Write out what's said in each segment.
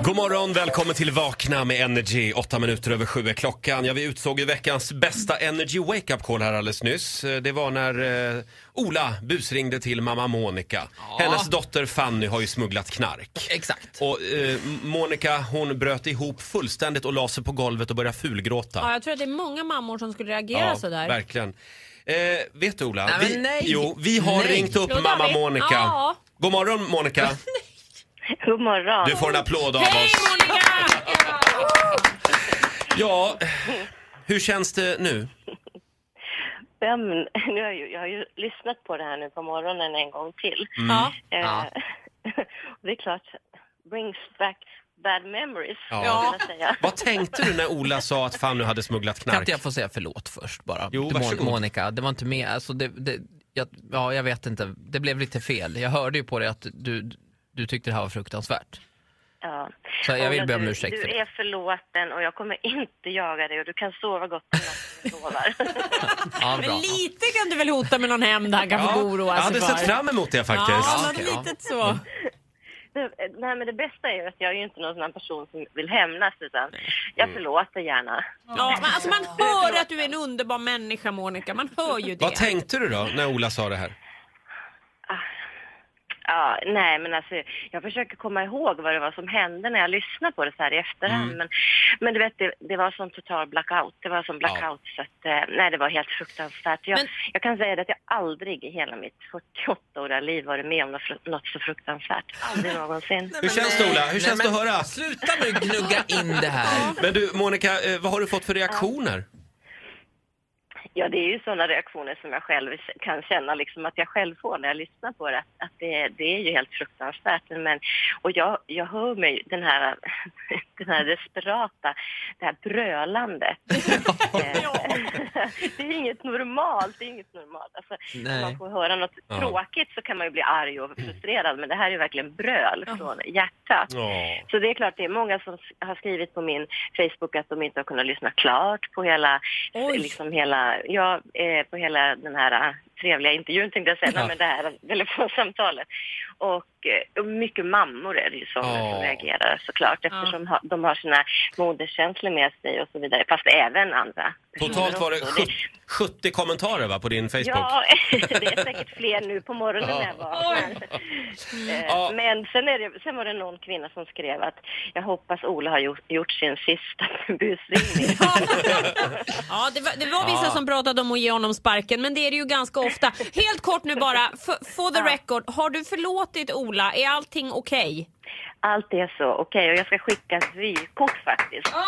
God morgon, välkommen till Vakna med Energy. Åtta minuter över sju är klockan. Ja, vi utsåg ju veckans bästa Energy Wake Up Call här alldeles nyss. Eh, Det var när eh, Ola busringde till mamma Monica. Hennes dotter Fanny har ju smugglat knark. Exakt. Och eh, Monica, hon bröt ihop fullständigt och la sig på golvet och började fulgråta. Ja, jag tror att det är många mammor som skulle reagera sådär. verkligen. Eh, vet du Ola? Nej, men vi, nej. Jo, vi har Nej. ringt upp Jo, det har mamma vi. Monica. Ja. God morgon Monica. God morgon. Du får en applåd av Hej oss. Monica! Ja, hur känns det nu? Vem, nu har jag, ju, jag har ju lyssnat på det här nu på morgonen en gång till. Mm, Ja. Eh, Mm. Ja. det är klart, brings back bad memories, Ja. skulle jag säga. Vad tänkte du när Ola sa att Fanny hade smugglat Kan inte knark? jag få säga förlåt först bara? Jo, Mon- varsågod. Monica, det var inte med, alltså det, det, jag, ja jag vet inte, det blev lite fel. Jag hörde ju på dig att du, du tyckte det här var fruktansvärt. Ja. Så jag vill Ola, be om du- ursäkt för Du det. är förlåten och jag kommer inte jaga dig och du kan sova gott om natten du sover. Ja, bra. Men lite kan du väl hota med någon hämnd han kanske får jag oroa sig hade för. sett fram emot det faktiskt. Ja, Ja, något okej, ja. litet så. Det- Nej, men det bästa är ju att jag är ju inte någon sån här person som vill hämnas utan Mm. jag förlåter gärna. Ja, men alltså man hör att du är en underbar människa Monica, man hör ju det. Vad tänkte du då när Ola sa det här? Ja, nej men alltså jag försöker komma ihåg vad det var som hände när jag lyssnade på det så här i efterhand. Men, men du vet, det, det var som total blackout. Det var som blackout så att, eh, nej det var helt fruktansvärt. Jag, Men- jag kan säga det att jag aldrig i hela mitt 48-åriga liv varit med om något, fru- något så fruktansvärt. Aldrig någonsin. Hur känns det Ola? Hur känns det att höra? Sluta nu gnugga in det här. Men du Monica, eh, vad har du fått för reaktioner? Ja, det är ju sådana reaktioner som jag själv kan känna liksom att jag själv får när jag lyssnar på det. Att, att det, det är ju helt fruktansvärt. Men, och jag, jag hör mig den här, den här desperata, det här brölandet. Eh, det är inget normalt, det är inget normalt. Alltså, Nej. om man får höra något Ja. tråkigt så kan man ju bli arg och frustrerad. Men det här är ju verkligen bröl från hjärtat. Ja. Så det är klart, det är många som s- har skrivit på min Facebook att de inte har kunnat lyssna klart på hela, Oj. liksom hela, ja, eh, på hela den här eh, trevliga intervjun tänkte jag säga, Ja. Nej, men det här telefonsamtalet. Och eh, och mycket mammor är det ju som, Ja. som reagerar såklart eftersom ha, de har sina moderskänslor med sig och så vidare. Fast även andra. personer Totalt var det också. 70, 70 kommentarer va, på din Facebook? Ja, det är säkert fler nu på morgonen när jag vaknar. Eh, Ja. Men sen, är det, sen var det någon kvinna som skrev att jag hoppas Ola har gjort, gjort sin sista busringning. Ja, det var, det var vissa som pratade om att ge honom sparken, men det är det ju ganska ofta. Helt kort nu bara, f- for the record, har du förlåtit Ola? Är allting okej? Allt är så okej och jag ska skicka ett vykort faktiskt. Ja,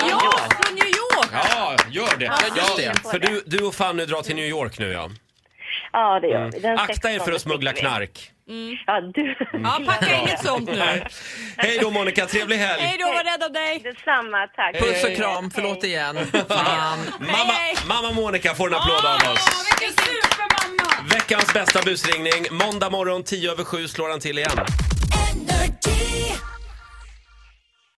ja, från New York! Ja, gör det. just det. för du, du och Fanny drar till New York nu ja. Ja, det gör vi. Den Mm. Akta er för 16 att smuggla sticker vi. knark. Mm. Ja, du. Ja, packa inget sånt nu. Hej då Monica, trevlig helg. Hej då, var rädd om dig. Detsamma, tack. Puss och kram, förlåt igen. Fan. Mamma, hej. mamma Monica får en applåd av oss. Vilken supermamma! Veckans bästa busringning. Måndag morgon 10 över 7 slår han till igen.